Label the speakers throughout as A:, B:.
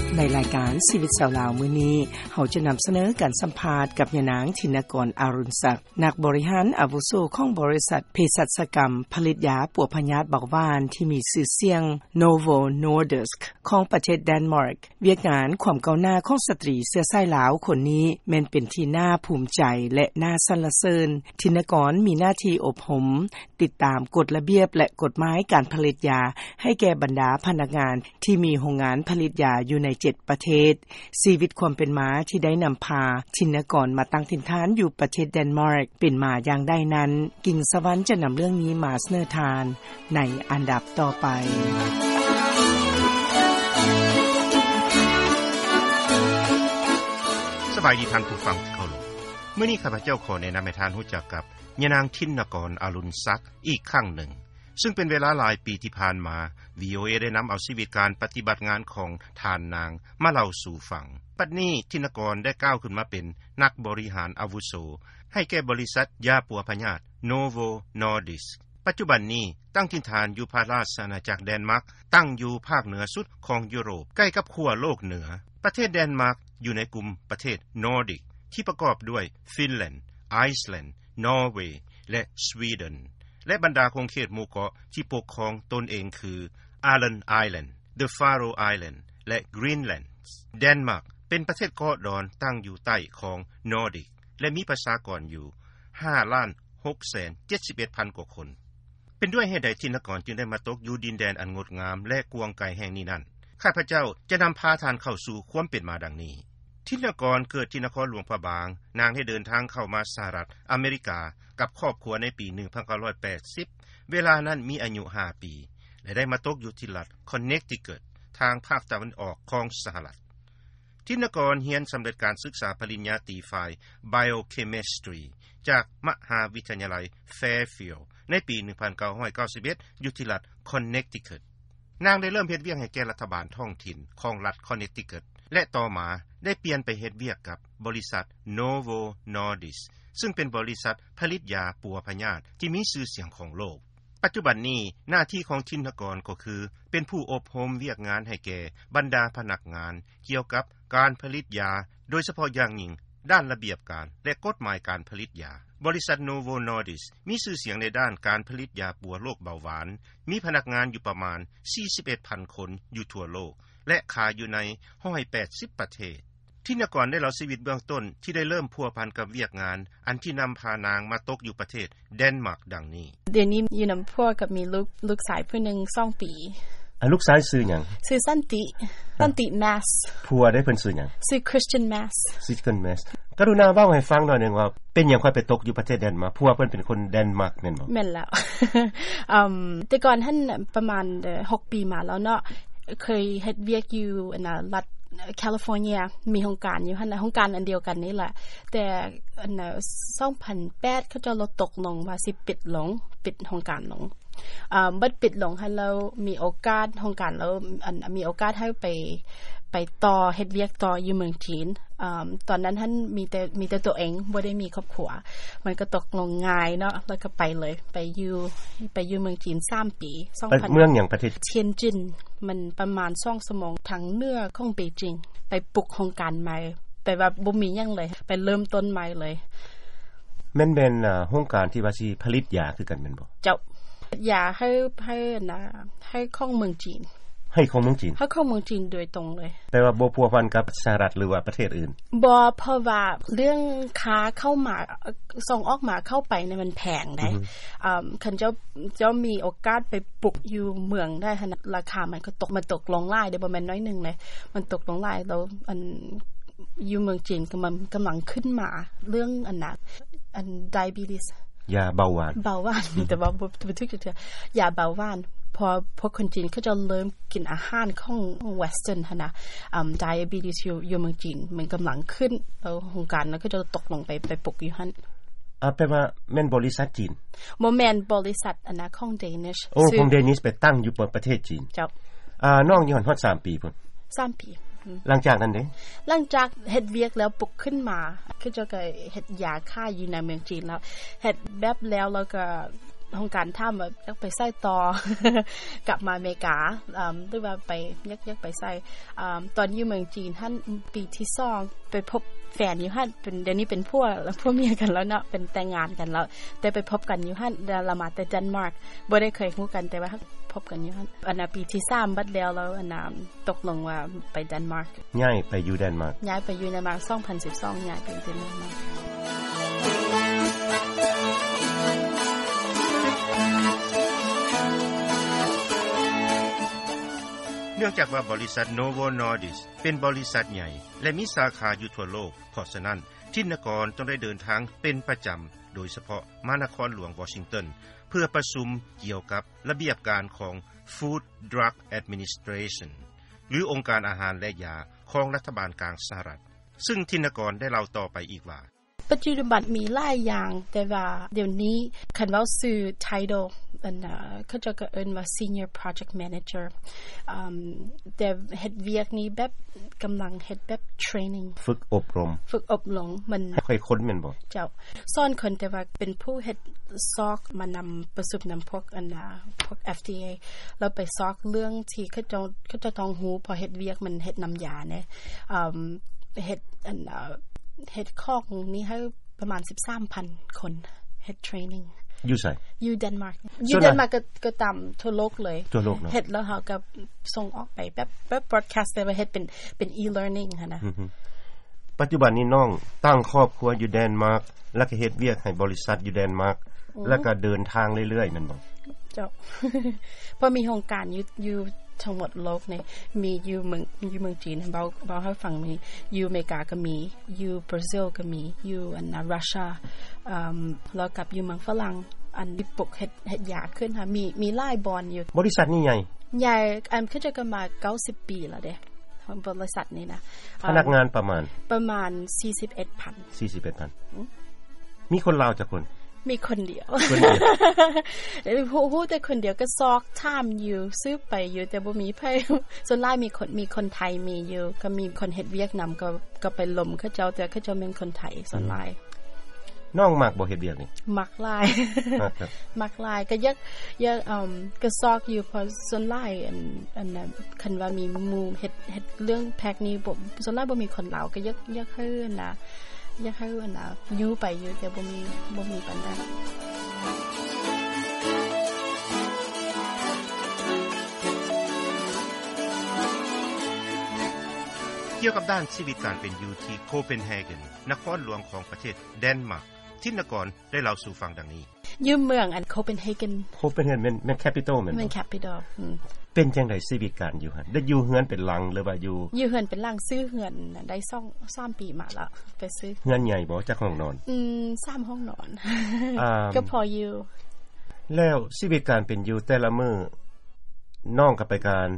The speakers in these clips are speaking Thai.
A: ชีวิตสาวลาวมื้อนี้เฮาจะนำเสนอการสัมภาษณ์กับยะนางธินกรอารุณศักดิ์นักบริหารอาวุโสของบริษัทเภสัชกรรม ผลิตยาปัวพยาธิเบาหวานที่มีชื่อเสียง Novo Nordisk ของประเทศเดนมาร์กเวียกงานความก้าวหน้าของสตรีเสื้อสายลาวคนนี้แม่นเป็นที่น่าภูมิใจและน่าสรรเสริญธินกรมีหน้าที่อบรมติดตามกฎระเบียบและกฎหมายการผลิตยาให้แก่บรรดาพนักงานที่มีโรงงานผลิตยาอยู่ใน 7 ประเทศ ชีวิตความเป็นมาที่ได้นำพาทินกรมาตั้งถิ่นฐานอยู่ประเทศเดนมาร์กเป็นมาอย่างได้นั้น กิ่งสวรรค์จะนำเรื่องนี้มาเสนอทานในอันดับต่อไป
B: สบายดีท่านผู้ฟังที่เคารพมื้อนี้ข้าพเจ้าขอแนะนำให้ท่านรู้จักกับยะนางทินนกรอรุณศักดิ์อีกครั้งหนึ่ง ซึ่งเป็นเวลาหลายปีที่ผ่านมา VOA ได้นำเอาชีวิตการปฏิบัติงานของท่านนางมาเล่าสู่ฟังปัดนี้ทินกรได้ก้าวขึ้นมาเป็นนักบริหารอาวุโส ให้แก่บริษัทยาปัวพยาธิ Novo Nordisk ปัจจุบันนี้ตั้งถิ่นฐานอยู่พาราสอาณาจักรแดนมาร์กตั้งอยู่ภาคเหนือสุดของยุโรปใกล้กับขั้วโลกเหนือ ประเทศแดนมาร์กอยู่ในกลุ่มประเทศนอร์ดิก ที่ประกอบด้วยฟินแลนด์ไอซ์แลนด์นอร์เวย์และสวีเดนและบรรดาคงเขตหมู่เกาะที่ปกครองตนเองคืออาร์เลนไอแลนด์เดอะฟาโรไอแลนด์และกรีนแลนด์เดนมาร์กเป็นประเทศเกาะดอนตั้งอยู่ใต้ของนอร์ดิก และมีประชากรอยู่5ล้าน671,000 กว่าคน เป็นด้วยเหตุใดที่นครจึงได้มาตกอยู่ดินแดนอันงดงามและกวงไกลแห่งนี้นั้น ข้าพเจ้าจะนำพาทานเข้าสู่ความเป็นมาดังนี้ ทินกรเกิดที่นครหลวงพระบาง นางได้เดินทางเข้ามาสหรัฐอเมริกากับครอบครัวในปี 1980 เวลานั้นมีอายุ 5 ปี และได้มาตกอยู่ที่รัฐคอนเนคติเกิดทางภาคตะวันออกของสหรัฐ ทินกรเรียนสำเร็จการศึกษาปริญญาตรีฝ่าย Biochemistry จากมหาวิทยาลัย Fairfield ในปี 1991 อยู่ที่รัฐ Connecticut นางได้เริ่มเฮ็ดเวียกให้แก่รัฐบาลท้องถิ่นของรัฐ Connecticut และต่อมาได้เปลี่ยนไปเฮ็ดเวียกกับบริษัท Novo Nordisk ซึ่งเป็นบริษัทผลิตยาปัวพยาธิที่มีชื่อเสียงของโลก ปัจจุบันนี้หน้าที่ของทินกรก็คือ เป็นผู้อบรมเวียกงานให้แก่บรรดาพนักงาน เกี่ยวกับการผลิตยา โดยเฉพาะอย่างยิ่งด้านระเบียบการและกฎหมายการผลิตยา บริษัท Novo Nordisk มีชื่อเสียงในด้านการผลิตยาปัวโรคเบาหวาน มีพนักงานอยู่ประมาณ 41,000 คนอยู่ทั่วโลก และขายอยู่ใน 180 ประเทศ ที่นกรได้เราชีวิตเบื้องต้นที่ได้เริ่มพัวพันกับเวียกงาน อันที่นำพานางมาตกอยู่ประเทศเดนมาร์กดังนี้
C: เดี๋ยวนี้อยู่นำพัวกับมีลูกลูกสายผู้หนึ่ง2ปี
D: อันลูกซ้ายซื้อหยัง
C: ซื้อสันติ สันติ Mass
D: ผัวได้เพิ่นซื้อหยัง
C: ซื้อ Christian Mass
D: ซื้อ Christian Mass กรุณาเว้าให้ฟังหน่อยหนึงว่า เป็นหยังค่อยไปตกอยู่ประเทศเดนมาร์กผัวเพิ่นเป็นคนเดนมาร์กแม่นบ่
C: แม่นแล้ว อืมแต่ก่อนท่านประมาณ 6 ปีมาแล้วเนาะเคยเฮ็ดเวียกอยู่อันน่ะรัฐแคลิฟอร์เนียมีโครงการอยู่หั่นน่ะโครงการอันเดียวกันนี่แหละ แต่อันน่ะ2008เขาจะลดตกลงว่าสิปิดลง ปิดโครงการลงอ่าบัดปิดลงให้เรามีโอกาสโครงการแล้วอันมีโอกาสให้ไปไปต่อเฮ็ดเวียกต่ออยู่เมืองจีนอ่าตอนนั้นท่านมีแต่มีแต่ตัวเองบ่ได้มีครอบครัว มันก็ตกลงง่ายเนาะแล้วก็ไปเลย ไปอยู่ไปอยู่เมืองจีน3ปี
D: ไป
C: 2000
D: เมืองหยังประเทศ
C: เทียนจินมันประมาณ2ชั่วโมงทางเหนือของเปจิง ไปปลุกโครงการใหม่ไปว่าบ่มีหยังเลย ไปเริ่มต้นใหม่เลย
D: แม่นแม่นอ่าโครงการที่ว่าสิผลิตยาคือกันแม่นบ่
C: เจ้าอย่าให้ให้นะให้ข้องเมืองจีน
D: ให้ของเมืองจีน
C: ให้ข้องเมืองจีนโดยตรงเลย
D: แปลว่าบ่พัวพันกับสหรัฐหรือว่าประเทศอื่น
C: บ่เพราะว่าเรื่องค้าเข้ามาส่งออกมาเข้าไปเนี่ยมันแพงได้อ่าคันเจ้าเจ้ามีโอกาสไปปลุกอยู่เมืองได้ขนาดราคามันก็ตกมันตกลงหลายได้บ่แม่นน้อยหนึงเลยมันตกลงหลายแล้วอันอยู่เมืองจีนกำลังกำลังขึ้นมาเรื่องอันน่ะอัน diabetes
D: ยาเบาหวาน
C: เบาหวานมีแต่ว่าบ่บ่ทึกจะเทื่อยาเบาหวาน พอพวกคนจีนเขาจะเริ่มกินอาหารของเวสเทิร์นหั่นน่ะอืม diabetes อยู่อยู่เมืองจีน มันกำลังขึ้นแล้วโครงการนั้นก็จะตกลงไปไปปลุกอยู่หั่น
D: อ่าแปลว่าแม่นบริษัทจีน
C: บ่แม่นบริษัทอันนะของ Danish
D: โอ้
C: ซื้
D: ของเดนิสไปตั้งอยู่บนประเทศจีน
C: เจ้า
D: อ่าน้องอยู่หอนฮอด3ปีพุ่น
C: 3ปี
D: หลังจากนั้นเด้
C: หลังจากเฮ็ดเวียกแล้วปลุกขึ้นมาคือเจ้าก็เฮ็ดยาค่ายอยู่ในเมืองจีนแล้วเฮ็ดแบบแล้วแล้วก็ โครงการทำแบบอยากไปใส่ต่อ กลับมาอเมริกาอืมหรือว่าไปอยากอยากไปใส่อืมตอนอยู่เมืองจีนท่านปีที่สองไปพบแฟนอยู่ท่านเป็นเดี๋ยวนี้เป็นพวกพวกเมียกันแล้วเนาะเป็นแต่งงานกันแล้ว แต่ไปพบกันอยู่ท่านเดลามาแต่เดนมาร์กบ่ได้เคยคู่กันแต่ว่าพบกันอยู่ท่านอันน่ะปีที่สามบัดแล้วแล้วอันน่ะตกลงว่าไปเดนมาร์ก
D: ย้ายไปอยู่เดนมาร์ก
C: ย้ายไปอยู่ในมา2012ย้ายไปอยู่เดนมาร์ก
B: เนื่องจากว่าบริษัท Novo Nordisk เป็นบริษัทใหญ่ และมีสาขาอยู่ทั่วโลก เพราะฉะนั้นทินกรต้องได้เดินทางเป็นประจำโดยเฉพาะมานครหลวงวอชิงตัน เพื่อประชุมเกี่ยวกับระเบียบการของ Food Drug Administration หรือองค์การอาหารและยาของรัฐบาลกลางสหรัฐ ซึ่งทินกรได้เล่าต่อไปอีกว่า
C: ปัจจุบันมีหลายอย่างแต่ว่าเดี๋ยวนี้คันเว้าสื่อ title อันน่ะเขาจะก็เอิ้นว่า senior project manager อืมแต่เฮ็ดเวียกนี้แบบกำลังเฮ็ดแบบ training
D: ฝึกอบรม
C: ฝึกอบรมมัน
D: ให้ค่อยค้นแม่นบ่
C: เจ้าซ่อนคนแต่ว่าเป็นผู้เฮ็ดซอกมานำประสบนำพวกอันน่ะพวก FDA แล้วไปซอกเรื่องที่เขาเจะเขาเจะต้องหู้พอเฮ็ดเวียกมันเฮ็ดนำยาเนี่ยอืมเฮ็ดอันน่ะเฮ็ดคอกนี้ให้ประมาณ 13,000 คนเฮ็ดเทรนนิ่ง
D: อยู่ไส
C: อยู่เดนมาร์กอ
D: ส่
C: ยู่
D: วน
C: เด
D: ไหน
C: นมาร์กก็ก็ตามทั่วโลกเลย
D: ทั่วโลกเนอะ
C: เฮ็ดแล้วเฮาก็ส่งออกไปแบบแบบพอดแคสต์แต่ว่าเฮ็ดเป็นเป็น e-learning หันนะ
D: ปัจจุบันนี้น้องตั้งครอบครัวอยู่เดนมาร์กแล้วก็เฮ็ดเวียกให้บริษัทอยู่เดนมาร์กแล้วก็เดินทางเรื่อยๆแม่นบ่
C: เจ้า เพราะมีโครงการอยู่อยู่ทั้งหมดโลกเนี่ยมีอยู่เมืองอยู่เมืองจีนเบาเบาให้ฟังมีอยู่อเมริกาก็มีอยู่บราซิลก็มีอยู่อันนะรัสเซียอืมแล้วกับอยู่เมืองฝรั่งอันที่ปลุกเฮ็ดเฮ็ดยาขึ้นค่ะมีมีหลายบอนอยู่
D: บริษัทนี่ใหญ่
C: ใหญ่อันขึ้นจะกันมา 90 ปีแล้วเด้ของบริษัทนี้นะเอ่
D: พ
C: อ
D: นักงานประมาณ
C: ประมาณ 41,000
D: 41,000มีคนลาวจักคน
C: มีคนเดียว
D: คนเดียว
C: ผู้ผู้แต่คนเดียวก็ซอกถามอยู่ซื้อไปอยู่แต่บ่มีไผส่วนหลายมีคนมีคนไทยมีอยู่ ก็มีคนเฮ็ดเวียดนามก็ก็ไปลมเขาเจ้าแต่เขาเจ้าเป็นคนไทยส่วนหลาย
D: น้องมักบ่เฮ็ดเวียกนี่
C: มักหลาย
D: มักครับ
C: มักหลายก็ยักยักเอ่มก็ซอกอยู่เพอส่วนหลายอันอันน่ะคันว่ามีหมู่เฮ็ดเฮ็ดเรื่องแพ็กนี้บ่ส่วนหลายบ่มีคนลาวก็ยักยักให้อันน่ะยักให้อันน่ะอยู่ไปอยู่แต่บ่มีบ่มีปานใด
B: เกี่ยวกับด้านชีวิตการเป็นอยู่ที่โคเปนเฮเกนนครหลวงของประเทศเดนมาร์กทินกรได้เล่าสู่ฟังดังนี้
C: ยืมเมืองอันโคเปนเฮเกน
D: Copenhagen แม่นแม่น capital แม่น
C: เมือง
D: บ่
C: แคปิตอลอืม
D: เป็นจังได๋ชีวิตการอยู่หั่นได้อยู่เฮือนเป็นหลังหรือว่าอยู่
C: อยู่เฮือนเป็นหลังซื้อเฮือนน่ะได้ซ่องสามปีมาแล้วไปซื้อ
D: เฮือนใหญ่บ่จักห้องนอน
C: อืมสามห้องนอน
D: อ่า
C: ก็พออยู่
D: แล้วชีวิตการเป็นอยู่แต่ละมื้อน้องก็ไปการ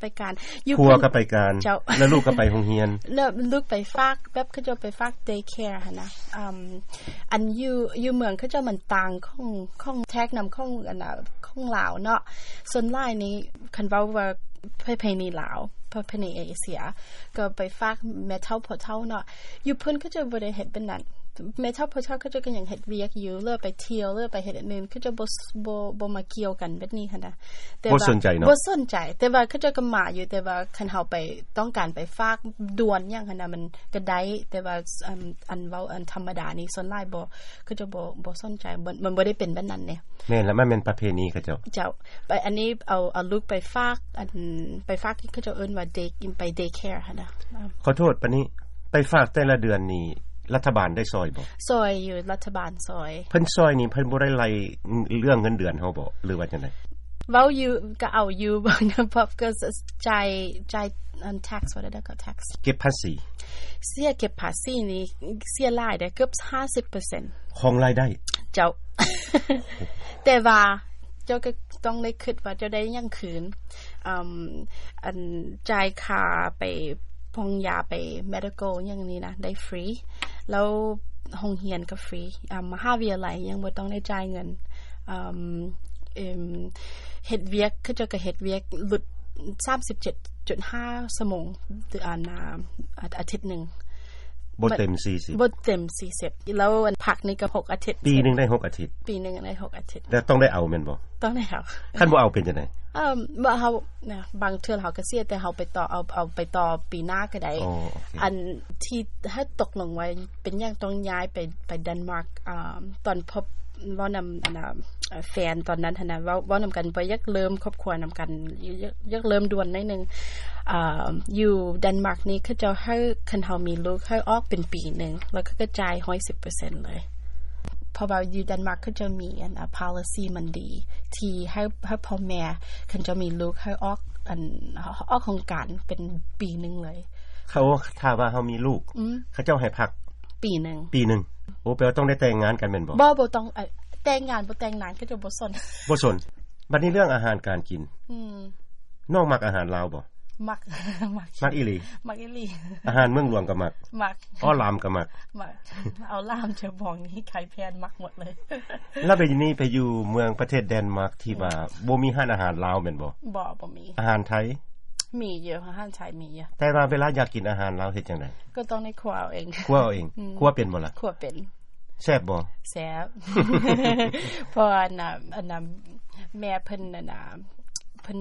C: ไปการอยู่
D: ครัว
C: เพิ่น
D: ก็ไปการ
C: เจ้า
D: แล้วลูกก็ไปโรงเรียน
C: เลิกลูกไปฝากแบบเขาจะไปฝาก daycare หั่นนะอืมอันอยู่อยู่เมืองเขาจะมันต่างของของแทกนำของอันน่ะของลาวเนาะส่วนหลายนี้คันเว้าว่าประเพณีลาวประเพณีเอเชีย ก็ไปฝากแม่เฒ่าพ่อเฒ่าเนาะอยู่เพิ่นก็จะบ่ได้เฮ็ดเป็นนั้นแม่เฒ่าพ่อเฒ่าก็จะก็ยังเฮ็ดเวียกอยู่เลิกไปเที่ยวเลิกไปเฮ็ดอันอื่นเขาจะบ่สบ่บ่มาเกี่ยวกันแบบนี้หั่นนะแต่
D: บ่
C: ว่า
D: สนใจเนาะ
C: บ่สนใจแต่ว่าเขาเจ้าก็มาอยู่แต่ว่าคันเฮาไปต้องการไปฝากด่วนอย่างหันน่ะมันก็ได้แต่ว่าอันอันเว้าอันธรรมดานี่ส่วนหลายบ่เขาเจ้าบ่บ่สนใจบ่มันบ่ได้เป็นแบบนั้นเนี่ย
D: แม่นแล้วมันเป็นประเพณีเขาเจ้า
C: เจ้าไปอันนี้เอาเอาลูกไปฝากอันไปฝากเขาเจ้าเอิ้นว่า day ไป day care หั่นน่ะอ่า
D: ขอโทษปานนี้ไปฝากแต่ละเดือนนี่รัฐบาลได้ซอยบ่
C: ซอยอยู่รัฐบาลซอย
D: เพิ่นซอยนี่เพิ่นบ่ได้ไล่เรื่องเงินเดือนเฮาบ่หรือว่าจังได๋
C: เว้าอยู่ก็เอาอยู่ บ่นะเพราะก็จ่ายจ่ายอัน tax ว่าได้ก็ tax
D: เก็บภาษี
C: เสียเก็บภาษีนี่เสียหลายได้เกือบ50%
D: ของรายได้
C: เจ้า แต่ว่าเจ้าก็ต้องได้คิดว่าเจ้าได้หยังคืนอืมอันจ่ายค่าไปพงยาไป medical อย่างนี้นะ ได้ฟรี แล้วโรงเรียนก็ฟรีอ่ามหาวิทยาลัยยังบ่ต้องได้จ่ายเงินอืมเอิ่มเฮ็ดเวียกคือเจ้าก็เฮ็ดเวียกหลุด 37.5ชั่วโมงอันอ่าอาทิตย์หนึง
B: บ่เต็ม40
C: บ่เต็ม40แล้วอันผักนี่ก็6อาทิตย์
B: ปีหนึงได้หกอาทิตย์
C: ปีหนึงได้6อาทิตย์
B: แต่ต้องได้เอาแม่นบ่
C: ต้องได้ครับ
B: คันบ่เอาเป็นจังได๋
C: เอ่อบ่เฮานะบางเทื่อเฮาก็เสียแต่เฮาไปต่อเอาเอาไปต่อปีหน้าก็ได้
B: อ๋อโอเค
C: อันที่ถ้าตกลงไว้เป็นอย่างต้องย้ายไปไปเดนมาร์กอ่าตอนพบเว่านำอันน่ะเอ่อแฟนตอนนั้นหันน่ะเว่าเว่านำกันไปยักเริ่มครอบครัวนำกันยักยักเริ่มด่วนหนิดนึงอ่าอยู่เดนมาร์กนี่เขาจะให้คันเฮามีลูกให้ออกเป็นปีหนึงแล้วก็กระจาย 110%เลย เพราะว่าอยู่เดนมาร์กเขาจะมีอันอ่ะ policy มันดี ที่ให้ให้พ่อแม่คันจะมีลูกให้ออกอันออกโครงการเป็นปีหนึงเลย
B: เขาถ้าว่าเฮามีลูก
C: อืม
B: เขาเจ้าให้พัก
C: ปีหนึ่ง
B: ปีหนึงโอ้แปลว่าต้องได้แต่งงานกันแม่นบ่
C: บ่บ่ต้องเอ่อแต่งงานบ่แต่งงานก็จะบ่สน
B: บ่สนบัดนี้เรื่องอาหารการกิน
C: อืม
B: น้องมักอาหารลาวบ่
C: มัก มัก
B: มักอีหลี
C: มักอีหลี
B: อาหารเมืองหลวงก็มัก
C: มัก
B: อ้อลามก็มัก
C: มัก เอาล่ามเจะบอกนี้ใครแพนมักหมดเลย
B: แล้วไปนี่ไปอยู่เมืองประเทศเดนมาร์กที่ว่าบ่มีห้านอาหารลาวแม่นบ่
C: บ่บ่มี
B: อาหารไทย
C: มีเยอะอาหารไทยมีเยอะ
B: แต่ว่าเวลาอยากกินอาหารลาวเฮ็ดจังได๋
C: ก็ต้องในครัวเอาเอง
B: คั่วเอาเองคั่วเป็นบ่ล่ะ
C: ครัวเป็น
B: แซ่บบ่
C: แซ่บ เพราะอันน่ะอันน่ะแม่เพิ่นน่ะน่ะเพิ่น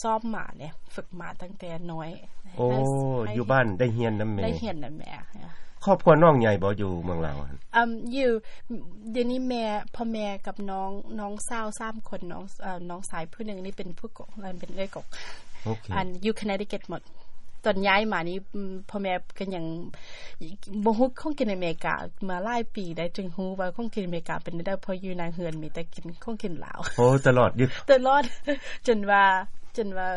C: ซ้อมหมาเนี่ย ฝึกหมาตั้งแต่น้อย
B: โอ้
C: ให้ให้
B: อยู่บ้านได้เฮียนนำแม่
C: ได้เห็นน่ะแม่
B: ครอบครัวน้องใหญ่บ่อยู่เมืองลาวอะ
C: อืมอยู่เดี๋ยวนี้แม่พ่อแม่กับน้องน้องสาวสามคนน้องเอ่อน้องสายผู้หนึ่งนี่เป็นผู้กกแล้วเป็นเอ้ยกก
B: โอเค
C: อันอยู่ค n น t ิ c เกตหมด ตอนย้ายมานี่อืมพ่อแม่ก็ยังบ่ฮู้ของกินอเมริกา มาหลายปีได้จึงฮู้ว่าของกินอเมริกาเป็นได้เพราะอยู่ในเฮือนมีแต่กินของกินลาว
B: โอ้ตลอดอยู่
C: ตลอด จนว่าจนว่า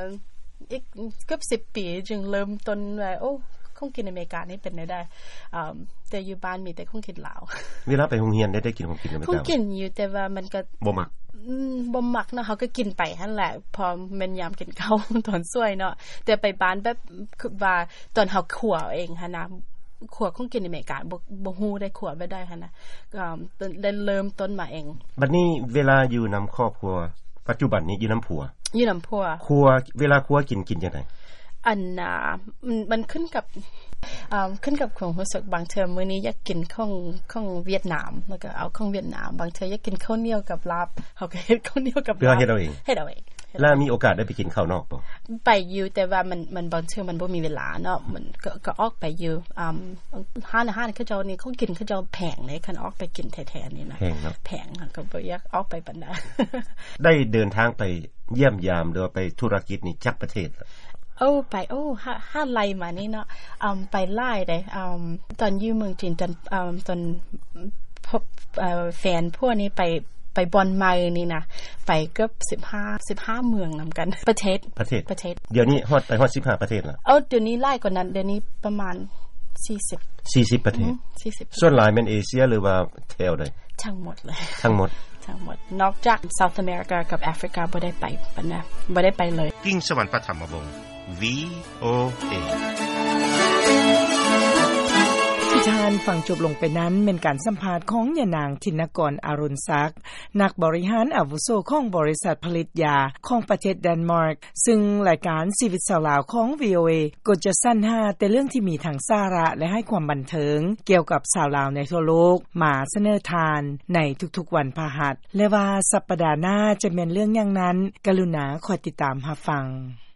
C: อีกเกือบ10 ปี จึงเริ่มต้นว่าโอ้ของกินอเมริกานี่เป็นได้ได้อ่าแต่อยู่บ้านมีแต่ของกินลาว
B: เวลาไปโรงเรียนได้ได้กินของกินไหม
C: คง
B: จ๊ะ
C: กินอยู่แต่ว่ามันก็
B: บ่มัก
C: อืมบ่มักเนาะเขาก็กินไปหั่นแหละ พอมันยามกินข้าว ตอนซวยเนาะแต่ไปบ้านแบบคือว่าตอนเฮาขัวเอาเองหั่นนะขัวคงกินอเมริกาบ่บ่ฮู้ได้ขัวบ่ได้หั่นนะก็ต้นได้เริ่มต้นมาเอง
B: บัดนี้เวลาอยู่นำครอบครัว ปัจจุบันนี้อยู่นำผัว
C: อยู่นำพัว
B: ครัวเวลาครัวกินกินจังได๋
C: อันน่ะมันมันขึ้นกับอ่าขึ้นกับของรู้สึกบางเทื่อมื้อนี้อยากกินของของเวียดนาม แล้วก็เอาของเวียดนาม บางเทื่ออยากกินข้าวเหนียวกับลาบเขาก็เฮ็ดข้าวเหนียวกับลาบ
B: เพื่อเฮ็ดเอาเอง
C: เฮ็ดเอาเอง
B: แล้วมีโอกาสได้ไปกินข้าวนอกบ่
C: ไปอยู่แต่ว่ามันมันบางเทื่อมันบ่มีเวลาเนาะมันก็ก็ออกไปอยู่อ่าห้านอาหารเขาเจ้านี่เขากินเขาเจ้าแพงเลยคันออกไปกินแท้ๆนี่นะ
B: แพงเนาะ
C: แพงอะก็บ่อยากออกไปปานใด
B: ได้เดินทางไปเยี่ยมยามหรือว่าไปธุรกิจนี่จักประเทศละ
C: โอ้ไปโอ้ห้าห้าไลมานี่เนาะอืมไปไล่ได้อืมตอนอยู่เมืองจีนตอนอืมตอนพบเอ่อแฟนพวกนี้ไปไปบอนไมนี่นะไปเกือบ15 15เมืองนำกัน ประเทศ
B: ประเทศ
C: ประเทศ
B: เดี๋ยวนี้ฮอดไปฮอด15 ประเทศละ
C: เอาเดี๋ยวนี้ไล่กว่านั้นเดี๋ยวนี้ประมาณ 40
B: 40 ประเทศ
C: 40
B: ส่วนหลายแม่นเอเชียหรือว่าแถวใด
C: ทั้งหมดเลย
B: ทั้งหมด
C: ทั้งหมด นอกจาก South America กับ Africa บ่ได้ไปปะนะบ่ได้ไปเลย
E: กิ่งสวรรค์ประธรรมวงศ์ VOA
A: ที่ทานฟังจบลงไปนั้นเป็นการสัมภาษณ์ของยานางธินกรอรุณศักดิ์นักบริหารอาวุโสของบริษัทผลิตยาของประเทศเดนมาร์ก ซึ่งรายการชีวิตสาวลาวของ VOA ก็จะสั้นหาแต่เรื่องที่มีทางสาระและให้ความบันเทิง เกี่ยวกับสาวลาวในทั่วโลก มาเสนอทานในทุกๆวันพหัส และว่าสัปปดาห์หน้าจะเป็นเรื่องอย่างนั้น กรุณาคอยติดตามหาฟัง